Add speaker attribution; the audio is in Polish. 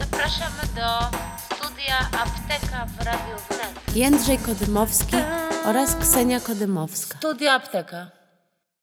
Speaker 1: Zapraszamy do studia Apteka w Radiu Wnet.
Speaker 2: Jędrzej Kodymowski oraz Ksenia Kodymowska.
Speaker 1: Studia Apteka.